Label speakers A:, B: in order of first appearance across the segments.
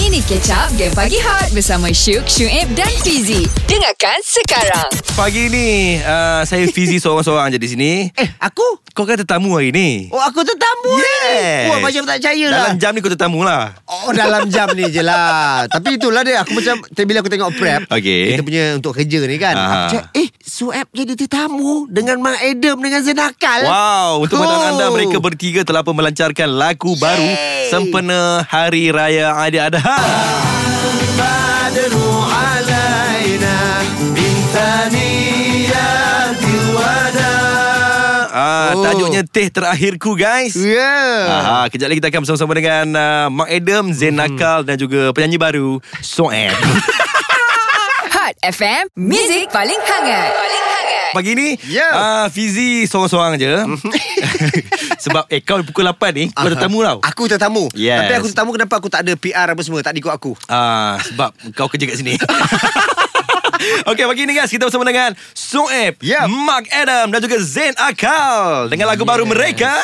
A: Ini Catch Up Game Pagi Hot Bersama Syuk, Syuib dan Fizi Dengarkan sekarang
B: Pagi ni uh, Saya Fizi seorang-seorang je di sini
C: Eh, aku?
B: Kau kan tetamu hari ni
C: Oh, aku tetamu
B: Yes.
C: eh. Wah, macam tak percaya lah.
B: Dalam jam ni kau tetamu lah
C: Oh, dalam jam ni je lah. Tapi itulah dia. Aku macam, tadi bila aku tengok prep.
B: Okay.
C: Kita punya untuk kerja ni kan.
B: Ah.
C: Aku cakap, eh, Sueb jadi tetamu dengan Mak Adam dengan Zenakal. Oh.
B: Wow Untuk
C: Cool.
B: cool. anda Mereka bertiga telah pun melancarkan lagu Yay. baru Sempena Hari Raya Adi Adha Ah, Ah,
C: Oh. Ya.
B: tajuknya teh terakhirku guys. Ah,
C: Yeah.
B: kejap lagi kita akan bersama-sama dengan uh, Mark Adam, Zain
C: Mhm.
B: Nakal dan juga penyanyi baru Soeb.
A: Hot FM Music paling hangat Paling hangat
B: Pagi ni
C: Ya. Mhm.
B: ah, Fizi seorang-seorang je Sebab eh kau pukul 8 ni Kau tetamu tau
C: Aku tetamu.
B: Yes.
C: Tapi aku tetamu kenapa aku tak ada PR apa semua. Tak ikut aku.
B: ah, Sebab kau kerja kat sini Okey pagi ni guys Kita bersama dengan Soeb
C: Ya.
B: Mark Adam Dan juga Zain Akal Dengan lagu baru mereka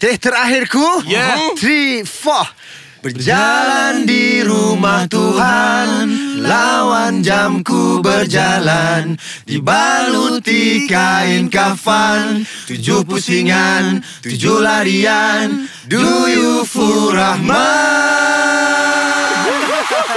C: Teh terakhirku.
B: Yeah.
C: Three, four. Berjalan di rumah Tuhan Lawan jamku berjalan Dibaluti kain kafan Tujuh pusingan, tujuh larian Do you full Rahman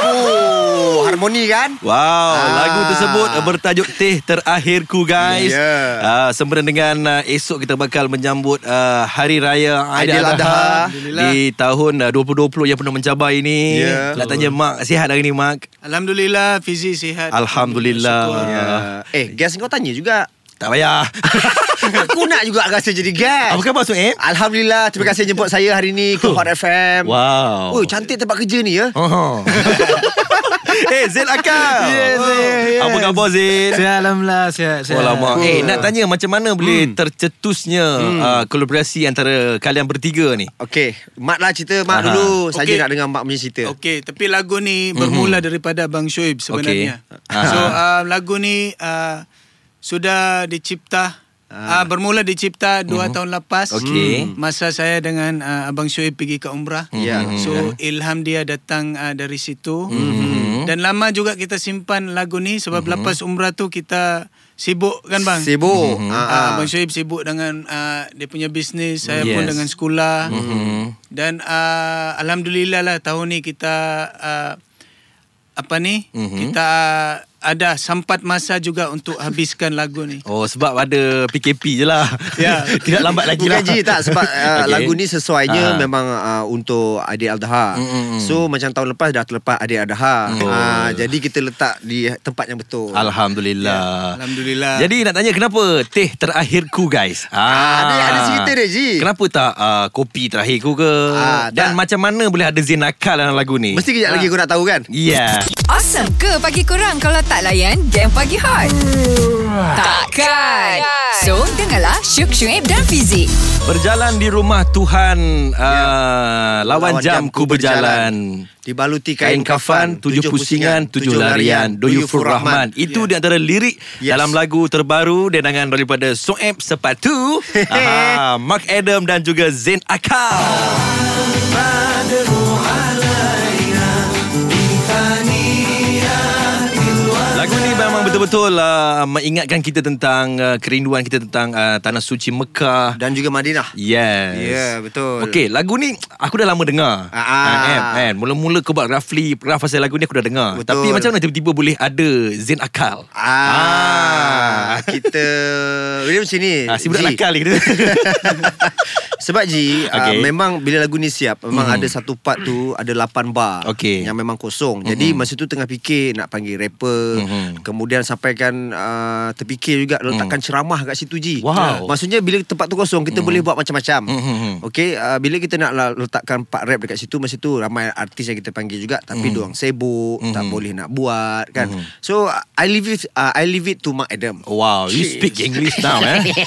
C: Oh, harmoni kan?
B: Wow, ah. lagu tersebut bertajuk Teh Terakhirku guys.
C: Ya.
B: Uh, sempena dengan uh, esok kita bakal menyambut uh, Hari Raya
C: Aidiladha.
B: Aidiladha di tahun uh, 2020 yang penuh mencabar ini.
C: Ya.
B: Nak tanya Mak, sihat hari ni Mak?
D: Alhamdulillah Fizi sihat
B: Alhamdulillah. Ya.
C: Eh, guest kau tanya juga
B: Tak payah.
C: Aku nak juga rasa jadi
B: Apa
C: guest
B: khabar Suib?
C: Alhamdulillah Terima kasih jemput saya hari ni Ke Hot FM
B: Wow.
C: Oh, cantik tempat kerja ni ya
B: Oh. eh, Zain Akal.
D: Yes, yes, yes.
B: Apa khabar Zain?
D: Sihat Alhamdulillah sihat, sihat.
B: Alamak. Eh, nak tanya macam
C: Hmm.
B: mana boleh tercetusnya uh, kolaborasi antara kalian bertiga ni?
C: Okey, Mat lah cerita Mak
B: Aha.
C: dulu Saya
D: Okey.
C: nak dengar Mak punya cerita
D: Ya. Okey, tapi lagu ni bermula mm-hmm. daripada Abang Shoaib sebenarnya.
B: Okey.
D: Okay. So uh, lagu ni uh, sudah dicipta uh, bermula dicipta 2 mm-hmm. tahun lepas Hmm.
B: Okey.
D: masa saya dengan uh, Abang Shoaib pergi ke umrah.
C: Ya.
D: So ilham dia datang uh, dari situ. Mm-hmm. Dan lama juga kita simpan lagu ni sebab mm-hmm. lepas umrah tu kita sibuk kan bang?
C: Sibuk
B: Mhm.
C: mm
D: Ah, Abang Shoaib sibuk dengan uh, dia punya bisnes, saya yes. pun
B: Yes.
D: dengan sekolah.
B: Hmm.
D: Dan uh, alhamdulillah lah tahun ni kita uh, apa ni? Mm-hmm. Kita uh, ada sempat masa juga untuk habiskan lagu ni.
B: Oh sebab ada PKP je lah
D: Ya.
B: Tidak lambat lagi lah
C: Bukan je tak Sebab uh,
B: Okey.
C: lagu ni
B: Ah.
C: sesuainya
B: Mm,
C: Memang uh, untuk Adil Al-Dha
B: Mm-mm.
C: So macam tahun lepas Dah terlepas Adil Al-Dha
B: Oh.
C: Ah, Jadi kita letak di tempat yang betul Ya,
B: Alhamdulillah
D: Alhamdulillah.
B: Jadi nak tanya kenapa teh terakhirku guys ah,
C: ada- ada cerita dia, Ji.
B: Kenapa tak uh, kopi terakhirku ke
C: Ah,
B: Dan
C: tak.
B: macam mana boleh ada Zain Akal dalam lagu ni Ya.
C: Mesti kejap lagi kau nak tahu kan
B: Yeah
A: Awesome ke pagi kurang Kalau tak layan Game Pagi Hot Takkan So dengarlah Syuk, Syuib dan Fizi
B: Berjalan di rumah Tuhan uh, Ya. Lawan, jam ku berjalan,
C: Dibaluti
B: Kain kafan, tujuh pusingan, tujuh larian Doyu Fur Rahman Ya.
C: Ya.
B: Itu di antara lirik
C: Yes.
B: Dalam lagu terbaru Denangan daripada Soeb Sepatu Aha, Mark Adam dan juga Zain Akal Lagu ni memang betul-betul uh, Mengingatkan kita tentang uh, Kerinduan kita tentang uh, Tanah suci Mekah
C: Dan juga Madinah
B: Yes
C: Ya, betul.
B: Okay lagu ni Aku dah lama dengar
C: Ah, ah.
B: Ah, kan, kan? Mula-mula kau buat Rafli Raf pasal lagu ni aku dah dengar
C: Betul.
B: Tapi macam mana tiba-tiba boleh ada Zain Akal
C: Ah, kita Dia macam ni
B: ah, Si budak
C: Ji.
B: nakal ni kita
C: Sebab Ji okay.
B: Okay.
C: uh, Memang bila lagu ni siap Memang
B: Mhm.
C: mm. ada satu part tu Ada 8 bar
B: Okay.
C: Yang memang kosong Jadi masa tu tengah fikir Nak panggil rapper
B: Mhm.
C: Kemudian sampaikan uh, Terfikir juga Letakkan ceramah kat situ Ji
B: Wow.
C: Maksudnya bila tempat tu kosong Kita boleh buat macam-macam
B: Mhm.
C: Okay uh, Bila kita nak la- letakkan part rap dekat situ Masa tu ramai artis yang kita panggil juga Tapi
B: Mhm.
C: mm. diorang sibuk Tak boleh nak buat kan So uh, I leave it uh, I leave it to Mark Adam
B: Wow You speak English now eh
C: Aku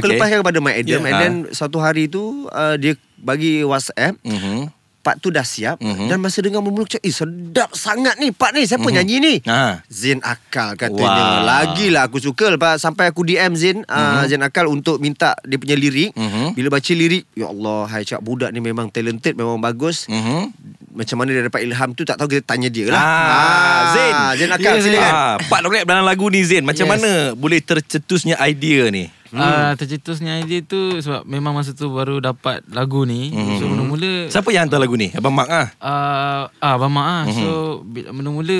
C: kan. okay. lepaskan kepada Mak Adam yeah.
B: Yeah.
C: And then Satu hari tu uh, Dia bagi WhatsApp mm.
B: Mhm.
C: Part tu dah siap mm-hmm. Dan masa dengar bermula Cakap eh sedap sangat ni Part ni Siapa mm-hmm. nyanyi ni
B: Ah.
C: Zain Akal
B: Wah.
C: katanya Lagilah aku suka Lepas sampai aku DM Zain mm-hmm. uh, Zain Akal untuk minta Dia punya lirik
B: Mhm.
C: Bila baca lirik Ya Allah Hai cak budak ni memang talented Memang bagus
B: Mhm.
C: macam mana dia dapat ilham tu tak tahu kita tanya dia lah.
B: Ah, Zain.
C: Zain Akal
E: Yes,
C: silakan.
B: Ah, Pak Lorep dalam lagu ni Zain Macam yes.
E: Yes.
B: mana boleh tercetusnya idea ni?
E: Hmm. Uh, tercetusnya idea tu sebab memang masa tu baru dapat lagu ni. Hmm. So mula-mula
B: Siapa yang hantar lagu ni? Abang Mak ah.
E: Uh, ah abang mak ah. So bila- mula-mula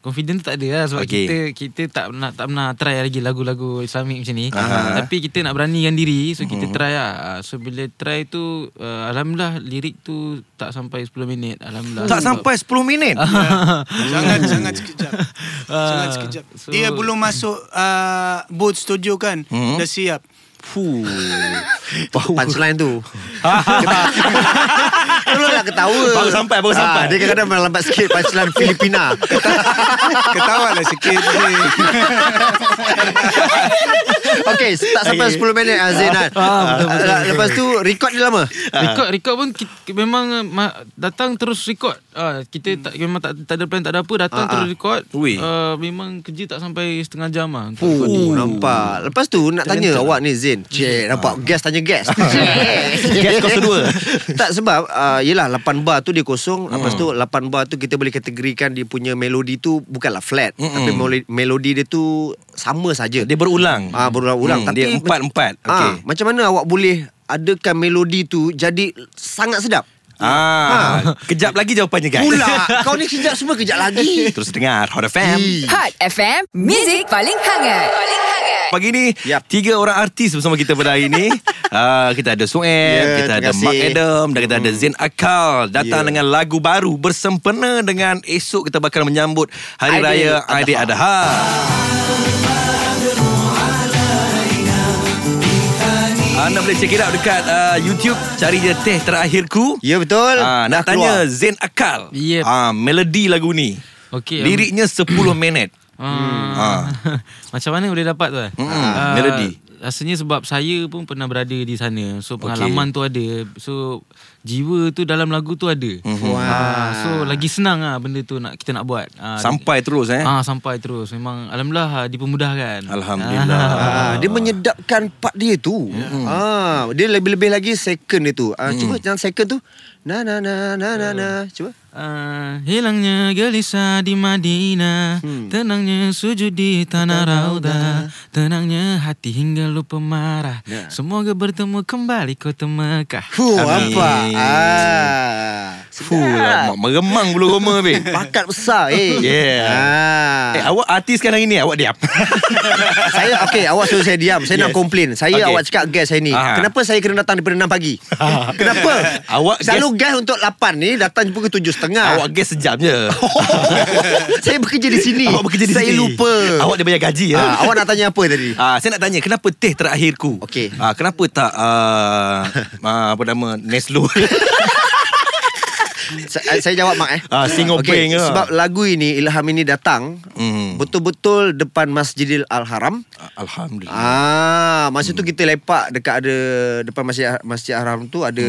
E: confident tu tak ada lah sebab
B: Okey.
E: okay. kita kita tak nak tak pernah try lagi lagu-lagu Islamic macam ni.
B: Aha.
E: Tapi kita nak beranikan diri so kita try lah. Ah, So bila try tu uh, alhamdulillah lirik tu tak sampai 10 minit alhamdulillah.
B: Tak
E: Sebab-
B: sampai 10 minit.
D: Sangat sangat sekejap. sangat
E: Ah,
D: sekejap.
E: so-
D: Dia belum masuk uh, boot studio kan? Dah siap.
B: Fuh.
C: Punchline tu Tolonglah ketawa
B: Baru sampai, baru
C: Ah,
B: sampai.
C: Dia kadang-kadang melambat sikit Punchline Filipina
D: Ketawa lah sikit.
C: Okay Tak sampai 10 minit ah, Zain kan Ah, Lepas tu Record dia lama
B: Ah.
E: Record record pun kita, memang uh, ma, datang terus record. Ah kita tak memang tak, tak ada plan tak ada apa
C: Ah,
E: datang
C: ah.
E: terus record.
B: Hmm. Ui.
E: Uh, memang kerja tak sampai setengah jam ah. untuk record ni.
C: Oh, nampak. Lepas tu nak tanya
E: Talented.
C: awak ni Zain. Cik, nampak guest tanya guest.
B: Guest kau kedua.
C: tak sebab uh, yelah 8 bar tu dia kosong, lepas tu 8 bar tu kita boleh kategorikan dia punya melodi tu bukanlah flat,
B: Mm-mm.
C: tapi melodi, melodi dia tu sama saja.
B: Dia berulang.
C: Ah berulang-ulang
B: Hmm,
C: tapi
B: dia empat-empat. Okey.
C: Ah, macam mana awak boleh adakan melodi tu jadi sangat sedap?
B: Ah, kejap lagi jawapannya guys.
C: Ya. Pula kau ni kejap semua kejap lagi.
B: Terus dengar Hot FM.
A: Hot FM, music paling hangat. Paling hangat.
B: Pagi ni
C: Yap.
B: Tiga orang artis bersama kita pada hari ni uh, Kita ada Soeb
C: Ya,
B: yeah, Kita ada Mark
C: terima kasih. Hmm.
B: Adam Dan kita ada Zain Akal Datang
C: Ya.
B: dengan lagu baru Bersempena dengan Esok kita bakal menyambut Hari
C: Aidil
B: Raya
C: Adha.
B: Aidil Adha Anda boleh check it out dekat uh, YouTube Cari je Teh Terakhirku
C: Ya betul.
B: Ah,
C: Dah
B: nak tanya
C: keluar.
B: Zain Akal
E: Yep.
B: ah, Melodi lagu ni
E: Okey. um,
B: Liriknya 10 minit Ah.
E: Ah. Macam mana boleh dapat tu? eh?
B: Mm-mm,
E: Ah,
B: melody.
E: Rasanya sebab saya pun pernah berada di sana. So pengalaman okay. tu ada. So jiwa tu dalam lagu tu ada.
B: Hmm,
E: Mm-hmm.
C: Wah.
E: so lagi senang ah benda tu nak kita nak buat.
C: Ha,
E: Ah,
B: Sampai terus eh
E: Ah sampai terus. Memang alhamdulillah ah, dipermudahkan.
B: Alhamdulillah.
C: Ah, dia menyedapkan part dia tu.
B: Ya.
C: Ah, dia lebih-lebih lagi second dia tu.
B: Hmm.
C: Ah, cuba yang second tu. Na na na na na na. Cuba.
E: Ah, hilangnya gelisah di Madinah
C: Hmm.
E: Tenangnya sujud di tanah rauda Tenangnya hati hingga lupa marah
C: Ya.
E: Semoga bertemu kembali kota Mekah
C: Fu
B: Amin.
C: apa? Ah.
B: Fuh, lah, mak- meremang bulu roma be.
C: Bakat besar eh.
B: Yeah.
C: Ah.
B: Eh, awak artis kan hari ni Awak diam
C: saya okey awak suruh saya diam. Saya nak
B: Yes.
C: komplain. Saya
B: Okey. Ah.
C: awak cakap guest saya ni.
B: Aha.
C: Kenapa saya kena datang daripada 6 pagi? Kenapa?
B: Ah. Awak
C: selalu guest untuk 8 ni datang jumpa ke 7.30.
B: Ah, Awak gas sejam je
C: saya bekerja di sini.
B: Awak bekerja di
C: Oh, saya
B: sini
C: lupa.
B: Awak dia bayar gaji ya
C: ah, awak nak tanya apa tadi?
B: Ah, saya nak tanya kenapa teh terakhirku?
C: Okey.
B: Ah, kenapa tak ah, ah, apa nama Neslo?
C: Sa- saya jawab Mak eh.
B: Ah, singo
C: Okey,
B: peng ke?
C: Sebab lagu ini Ilham ini datang
B: Hmm.
C: betul-betul depan Masjidil Al-Haram.
B: Alhamdulillah.
C: Ah, masa
B: Hmm.
C: tu kita lepak dekat ada depan Masjid Ha-, Masjid Al-Haram tu ada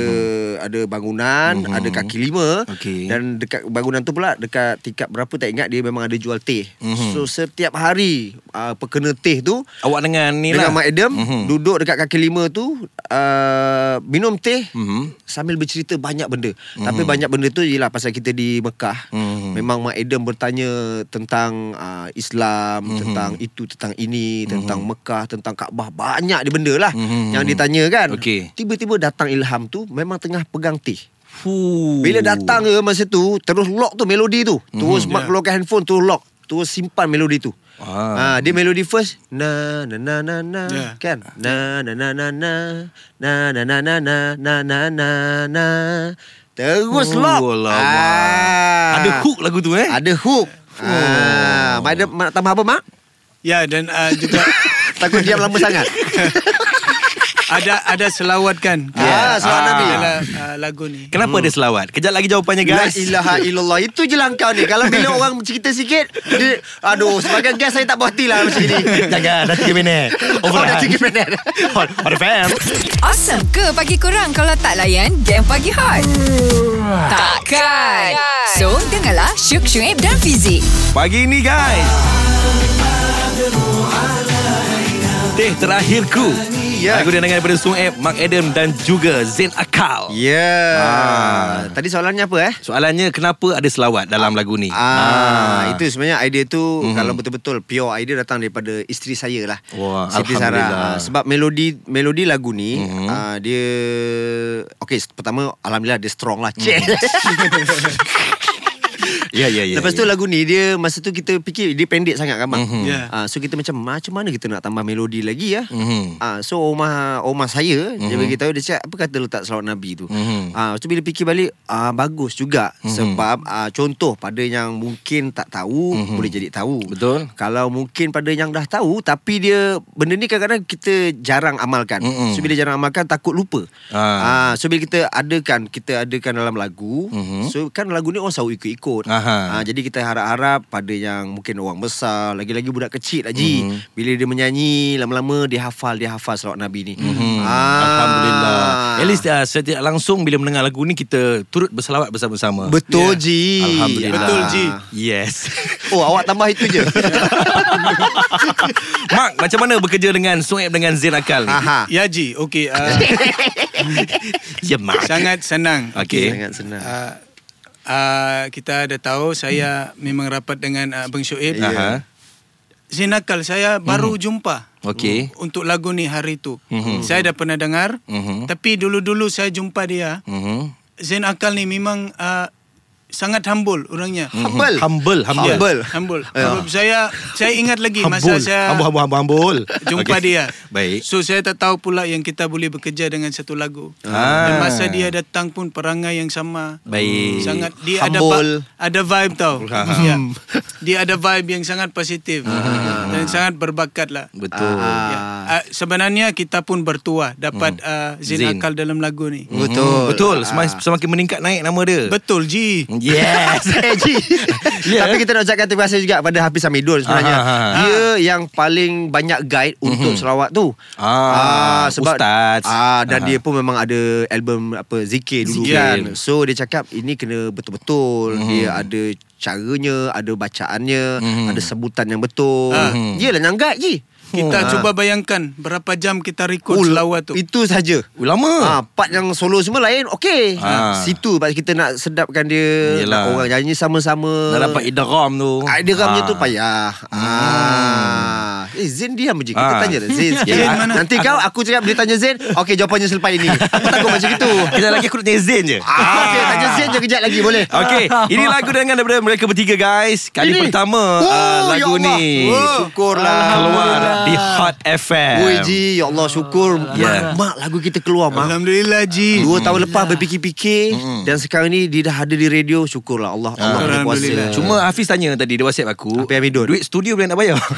C: ada bangunan, ada kaki lima
B: Hmm. Okey.
C: dan dekat bangunan tu pula dekat tingkat berapa tak ingat dia memang ada jual teh.
B: Hmm.
C: So setiap hari uh, pekena teh tu
B: Awak dengan ni
C: dengan
B: lah.
C: Mak Adam
B: Mhm.
C: duduk dekat kaki lima tu uh, minum teh
B: Mhm.
C: sambil bercerita banyak benda. Tapi banyak benda tu ialah pasal kita di Mekah.
B: Mhm.
C: Memang Mak Adam bertanya tentang uh, Islam, tentang itu, tentang ini, tentang Mekah, tentang Kaabah, banyak dia benda lah
B: Mhm.
C: yang ditanya kan.
B: Okey.
C: Tiba-tiba datang ilham tu memang tengah pegang teh.
B: Fuh.
C: Bila datang ke masa tu Terus lock tu melodi tu
B: Mhm. Ya.
C: Terus mm-hmm. mak keluarkan handphone Terus lock Terus simpan melodi tu
B: Ah.
C: Ah. dia melodi first na na na na na
D: Ya.
C: kan na na na na na na na na na na na na na na terus
B: Oh,
C: lock Ah.
B: alamak. Ada hook lagu tu eh?
C: ada hook ah mak ada mak nak tambah apa mak
D: Ya dan uh, juga
C: takut diam lama sangat
D: ada ada selawat kan.
C: Ah, selawat Nabi.
D: Adalah, uh, lagu ni.
B: Kenapa ada selawat? Kejap lagi jawapannya
C: Hmm. La
B: guys.
C: ilaha illallah Itu je lah kau ni Kalau bila orang cerita sikit dia, Aduh Sebagai guest saya tak puas hati lah Macam ni
B: Jangan dah 3 minit.
C: Oh dah 3 minit
B: Hot, hot FM.
A: Awesome ke pagi korang kalau tak layan game pagi hot? Takkan. So, dengarlah Syuk Syuib dan Fizik.
B: Pagi ni guys Getih Terakhirku
C: Ya.
B: Lagu dendangan daripada Sung App Mark Adam dan juga Zain Akal
C: Yeah.
B: Ah.
C: Ya. Tadi soalannya apa eh?
B: Soalannya kenapa ada selawat dalam lagu ni
C: Ah, itu sebenarnya idea tu
B: Mhm.
C: mm-hmm. kalau betul-betul pure idea datang daripada isteri saya lah.
B: Wah,
C: Siti
B: Alhamdulillah. Mhm.
C: Sarah. Ah, Sebab melodi melodi lagu ni mm-hmm. ah, dia okey pertama alhamdulillah dia strong lah.
B: Mhm.
C: Mm.
B: Ya ya ya
C: Lepas tu lagu ni dia masa tu kita fikir dia pendek sangat kan bang.
B: Mhm.
D: Ya.
C: Ah, so kita macam macam mana kita nak tambah melodi lagi ya?
B: Mhm.
C: Ah, so Omar Omar saya dia beritahu dia cakap apa kata letak selawat Nabi tu.
B: Mhm.
C: Ah, lepas tu bila fikir balik ah, bagus juga sebab ah, contoh pada yang mungkin tak tahu boleh jadi tahu.
B: Mhm. Betul.
C: Kalau mungkin pada yang dah tahu tapi dia benda ni kadang-kadang kita jarang amalkan.
B: Mhm.
C: So bila jarang amalkan takut lupa.
B: Ah.
C: Ah. so bila kita adakan kita adakan dalam lagu
B: Mhm.
C: so kan lagu ni orang selalu ikut-ikut.
B: Aha.
C: Ah, jadi kita harap-harap pada yang mungkin orang besar, lagi-lagi budak kecil lagi.
B: Mhm.
C: Mm-hmm. Bila dia menyanyi, lama-lama dia hafal, dia hafal selawat Nabi ni. Mm-hmm.
B: Mhm. Hmm, Alhamdulillah At least uh, secara tidak langsung Bila mendengar lagu ni Kita turut berselawat bersama-sama
C: Betul
D: Ya.
C: Ji.
B: Alhamdulillah
D: Betul, Ji.
B: Yes
C: Oh, awak tambah itu je.
B: Mark macam mana bekerja dengan Sueb dengan Zain Akal ni
C: Aha.
D: Ya Ji, okey. Uh,
B: Ya Mark
D: sangat senang.
B: Okay.
C: Sangat senang.
D: Uh, uh, kita ada tahu saya memang rapat dengan uh, Abang Shoaib.
B: Aha.
D: Zinakal saya baru
B: Mhm.
D: jumpa.
B: Okey.
D: Mm, Untuk lagu ni hari tu. Saya dah pernah dengar.
B: Mhm.
D: Tapi dulu-dulu saya jumpa dia.
B: Mhm.
D: Zain Akal ni memang uh, sangat humble orangnya.
C: Humble.
B: Humble, Hmm. humble. Ah.
C: Humble.
D: Humble. Sebab Saya saya ingat lagi masa saya
B: Hambul, hambul, hambul, hambul.
D: jumpa
B: Okey.
D: dia.
B: Baik.
D: So saya tak tahu pula yang kita boleh bekerja dengan satu lagu.
B: Ah.
D: Dan masa dia datang pun perangai yang sama.
B: Baik.
D: Sangat dia
C: Humble.
D: ada ba- ada vibe tau.
B: Ha, ha.
D: Ya. Dia ada vibe yang sangat positif dan sangat berbakat lah.
B: Ah. Betul.
D: Ya. Ah, sebenarnya kita pun bertuah dapat ah, Zin, Hmm.
B: Zin.
D: Akal dalam lagu
B: Mhm.
D: ni.
C: Hmm. Betul. Ah.
B: Betul. Semakin, semakin meningkat naik nama dia.
D: Betul Ji.
B: Yes.
C: Eh, Ji.
B: Ya.
C: Tapi kita nak ucapkan terima kasih juga pada Hafiz Hamidul sebenarnya.
B: Aha, aha.
C: Dia yang paling banyak guide untuk selawat tu.
B: Ah, ustaz.
C: Ah dan
B: Aha.
C: dia pun memang ada album apa zikir dulu
B: Zikir.
C: kan. So dia cakap ini kena betul-betul. Dia ada caranya, ada bacaannya, ada sebutan yang betul. Yelah yang guide je.
D: Kita
C: Ah.
D: cuba bayangkan berapa jam kita rekod
C: Oh,
D: selawat tu.
C: Itu saja.
B: Ulama.
C: Ah, part yang solo semua lain Okey
B: Hmm. Ah.
C: Situ part kita nak sedapkan dia
B: Yelah.
C: Nak orang nyanyi sama-sama
B: Dah dapat idram tu.
C: Idea
B: Ah.
C: ramnya
B: Hmm.
C: tu payah. Ah. Eh Zain diam je. Kita
B: Ah.
C: tanya lah Zain. sikit.
B: Zain
C: Ah,
D: mana?
C: Nanti kau aku cakap dia tanya Zain. Okey jawapannya selepas ini. Aku takut Oh, macam gitu.
B: Kita lagi aku nak tanya Zain je.
C: Ah, okey tanya Zain je kejap lagi boleh. Ah.
B: Okay, ini lagu dengan daripada mereka bertiga guys. Kali
C: Ini?
B: pertama
C: Oh,
B: ah,
C: ya
B: lagu
C: Allah.
B: ni
C: Oh, syukurlah.
B: keluar di Hot FM.
C: Oi Ji, ya Allah syukur
B: Ya.
C: mak, mak lagu kita keluar mak.
D: Alhamdulillah Ji.
B: Hmm.
C: Dua tahun lepas berfikir-fikir dan sekarang ni dia dah ada di radio syukurlah Allah Allah ada
D: Alhamdulillah.
C: kuasa. Cuma
B: Cuma Hafiz tanya tadi dia WhatsApp aku.
C: Apa yang Midun?
B: Duit studio boleh nak bayar?
C: mak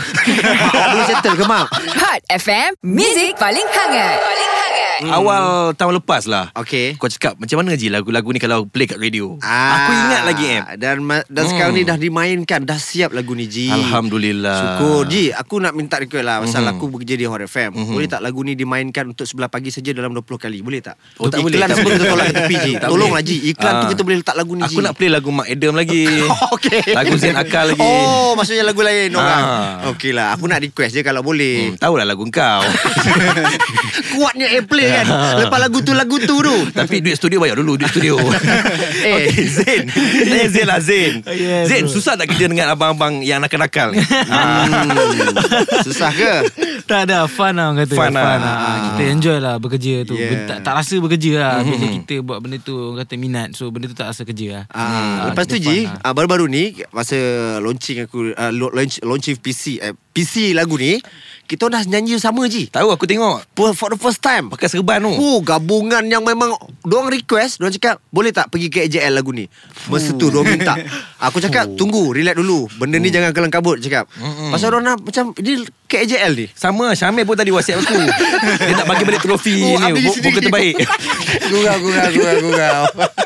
C: awak belum settle ke mak?
A: Hot FM, Music paling hangat. Paling hangat.
B: Hmm. Awal tahun lepas lah.
C: Okey.
B: Kau cakap macam mana je lagu-lagu ni kalau play kat radio.
C: Ah,
B: Aku ingat lagi eh. em.
C: Dan ma- dan
B: Hmm.
C: sekarang ni dah dimainkan, dah siap lagu ni Ji.
B: Alhamdulillah. Hmm.
C: Syukur Ji, aku nak minta request lah pasal aku bekerja di Hot FM. Boleh tak lagu ni dimainkan untuk sebelah pagi saja dalam 20 kali? Boleh tak?
B: Oh, tak boleh,
C: iklan
B: tak
C: semua
B: boleh.
C: kita tolak ke tepi Ji.
B: Tak
C: Tolonglah
B: boleh.
C: Ji, iklan tu
B: Ah.
C: kita boleh letak lagu ni Ji.
B: Aku nak play lagu Mak Adam lagi.
C: Okey.
B: Lagu Zain Akal lagi.
C: Oh, maksudnya lagu lain orang.
B: Ah.
C: Okey lah, aku nak request je kalau boleh.
B: Hmm, tahulah lagu kau.
C: Kuatnya airplay kan. Lepas lagu tu lagu tu tu.
B: Tapi duit studio bayar dulu duit studio.
C: Eh. Oh,
B: Okay, Zain. Tanya Zain lah Zain.
E: Yes,
B: Zain, susah tak kerja dengan abang-abang yang nakal-nakal ni?
E: Ah.
C: Hmm. Susah ke?
E: Tak ada Fun lah orang kata
B: Fun lah.
E: Ah, Kita enjoy lah bekerja tu
C: Yeah. Hmm.
E: yeah. tak, tak rasa bekerja lah Bila kita buat benda tu Orang kata minat So benda tu tak rasa kerja lah
C: Ah, lepas tu
E: kita
C: Ji,
E: fun lah.
C: ah, baru-baru ni masa launching aku ah, lo- launch, launching PC eh, PC lagu ni, kita dah nyanyi sama Ji.
B: Tahu aku tengok.
C: For, for the first time.
B: Pakai serban tu.
C: Oh gabungan yang memang Diorang request Diorang cakap Boleh tak pergi ke AJL lagu ni Masa tu diorang minta Aku
E: Oh.
C: cakap Tunggu relax dulu Benda ni
E: Hmm.
C: jangan kelang kabut Cakap Pasal diorang nak Macam ni ke AJL ni
B: Sama Syamil pun tadi whatsapp aku Dia tak bagi balik trofi
C: Oh,
B: ni
C: ambil
B: bu- Buku
C: sendiri.
B: terbaik
C: Gurau gurau gurau gurau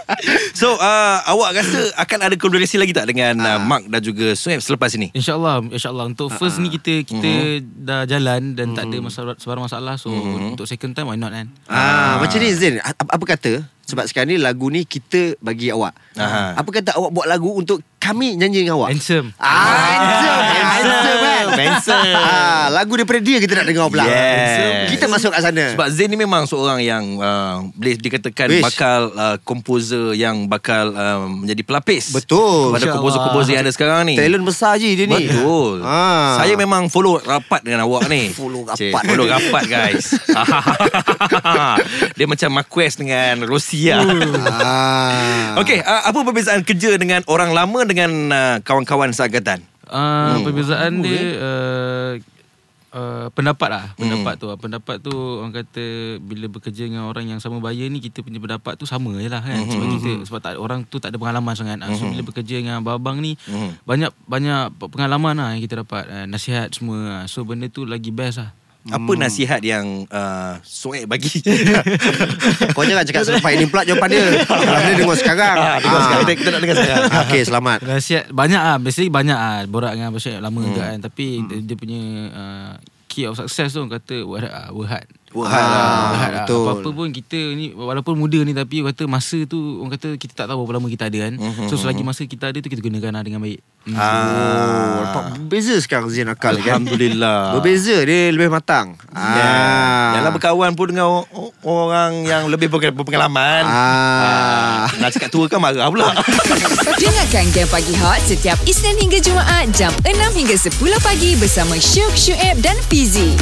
B: So uh, awak rasa Akan ada kolaborasi lagi tak Dengan
C: Ah.
B: uh, Mark dan juga Sueb Selepas ini
E: InsyaAllah InsyaAllah Untuk
C: Ah,
E: first ni kita Kita
C: Hmm.
E: dah jalan Dan tak ada masalah, sebarang masalah So untuk second time Why not kan
C: Ah, macam ni Zain, a- apa kata? Sebab sekarang ni lagu ni kita bagi awak.
B: Aha.
C: Apa kata awak buat lagu untuk kami nyanyi dengan awak?
E: Handsome
C: Ah, handsome. handsome. kan?
E: Benson.
C: Ah, lagu daripada dia kita nak dengar pula.
B: Yes.
C: Kita masuk kat sana.
B: Sebab Zain ni memang seorang yang uh, boleh dikatakan
C: Wish.
B: Wish. bakal uh, komposer yang bakal uh, menjadi pelapis.
C: Betul.
B: Pada
C: InsyaAllah.
B: komposer-komposer yang ada sekarang ni.
C: talent besar je dia ni.
B: Betul.
C: Ah.
B: Saya memang follow rapat dengan awak ni.
C: Follow
B: Cik,
C: rapat.
B: follow rapat guys. Dia macam Marquez dengan Rosia.
C: Hmm. Ah.
B: Okey, uh, apa perbezaan kerja dengan orang lama dengan uh, kawan-kawan seangkatan?
E: Uh, perbezaan dia uh, uh, pendapat lah pendapat tu lah. pendapat tu orang kata bila bekerja dengan orang yang sama bahaya ni kita punya pendapat tu sama je lah kan sebab kita sebab tak, orang tu tak ada pengalaman sangat Ah, so bila bekerja dengan abang-abang ni banyak banyak pengalaman lah yang kita dapat Ah, nasihat semua Ah, so benda tu lagi best lah
B: Apa
C: Hmm.
B: nasihat yang uh, Soek bagi?
C: Kau jangan cakap selepas ini pula jawapan dia. Kalau dia Ah. dengar sekarang.
B: Ah, dengar sekarang. Kita-
C: nak dengar sekarang. Okey, selamat.
E: Nasihat banyak ah, basically banyak ah borak dengan Abang Syed lama hmm. juga kan tapi dia, dia punya uh, key of success tu orang kata work hard. ah, Work hard.
C: Work hard lah,
E: Work hard
C: betul.
E: Lah. Apa-apa pun kita ni walaupun muda ni tapi orang kata masa tu orang kata kita tak tahu berapa lama kita ada kan. So selagi masa kita ada tu kita gunakan lah dengan baik. Hmm.
C: Oh,
B: ah.
C: nampak berbeza sekarang Zain Akal kan.
B: Alhamdulillah.
C: Berbeza dia lebih matang.
B: Ah. Janganlah
C: Ah.
B: berkawan pun dengan o- o- orang yang lebih berke- berpengalaman. Ah.
C: Ah.
B: Nak cakap tua kan marah pula.
A: Dengarkan Game Pagi Hot setiap Isnin hingga Jumaat jam 6 hingga 10 pagi bersama Syuk, Syuib dan Fizi.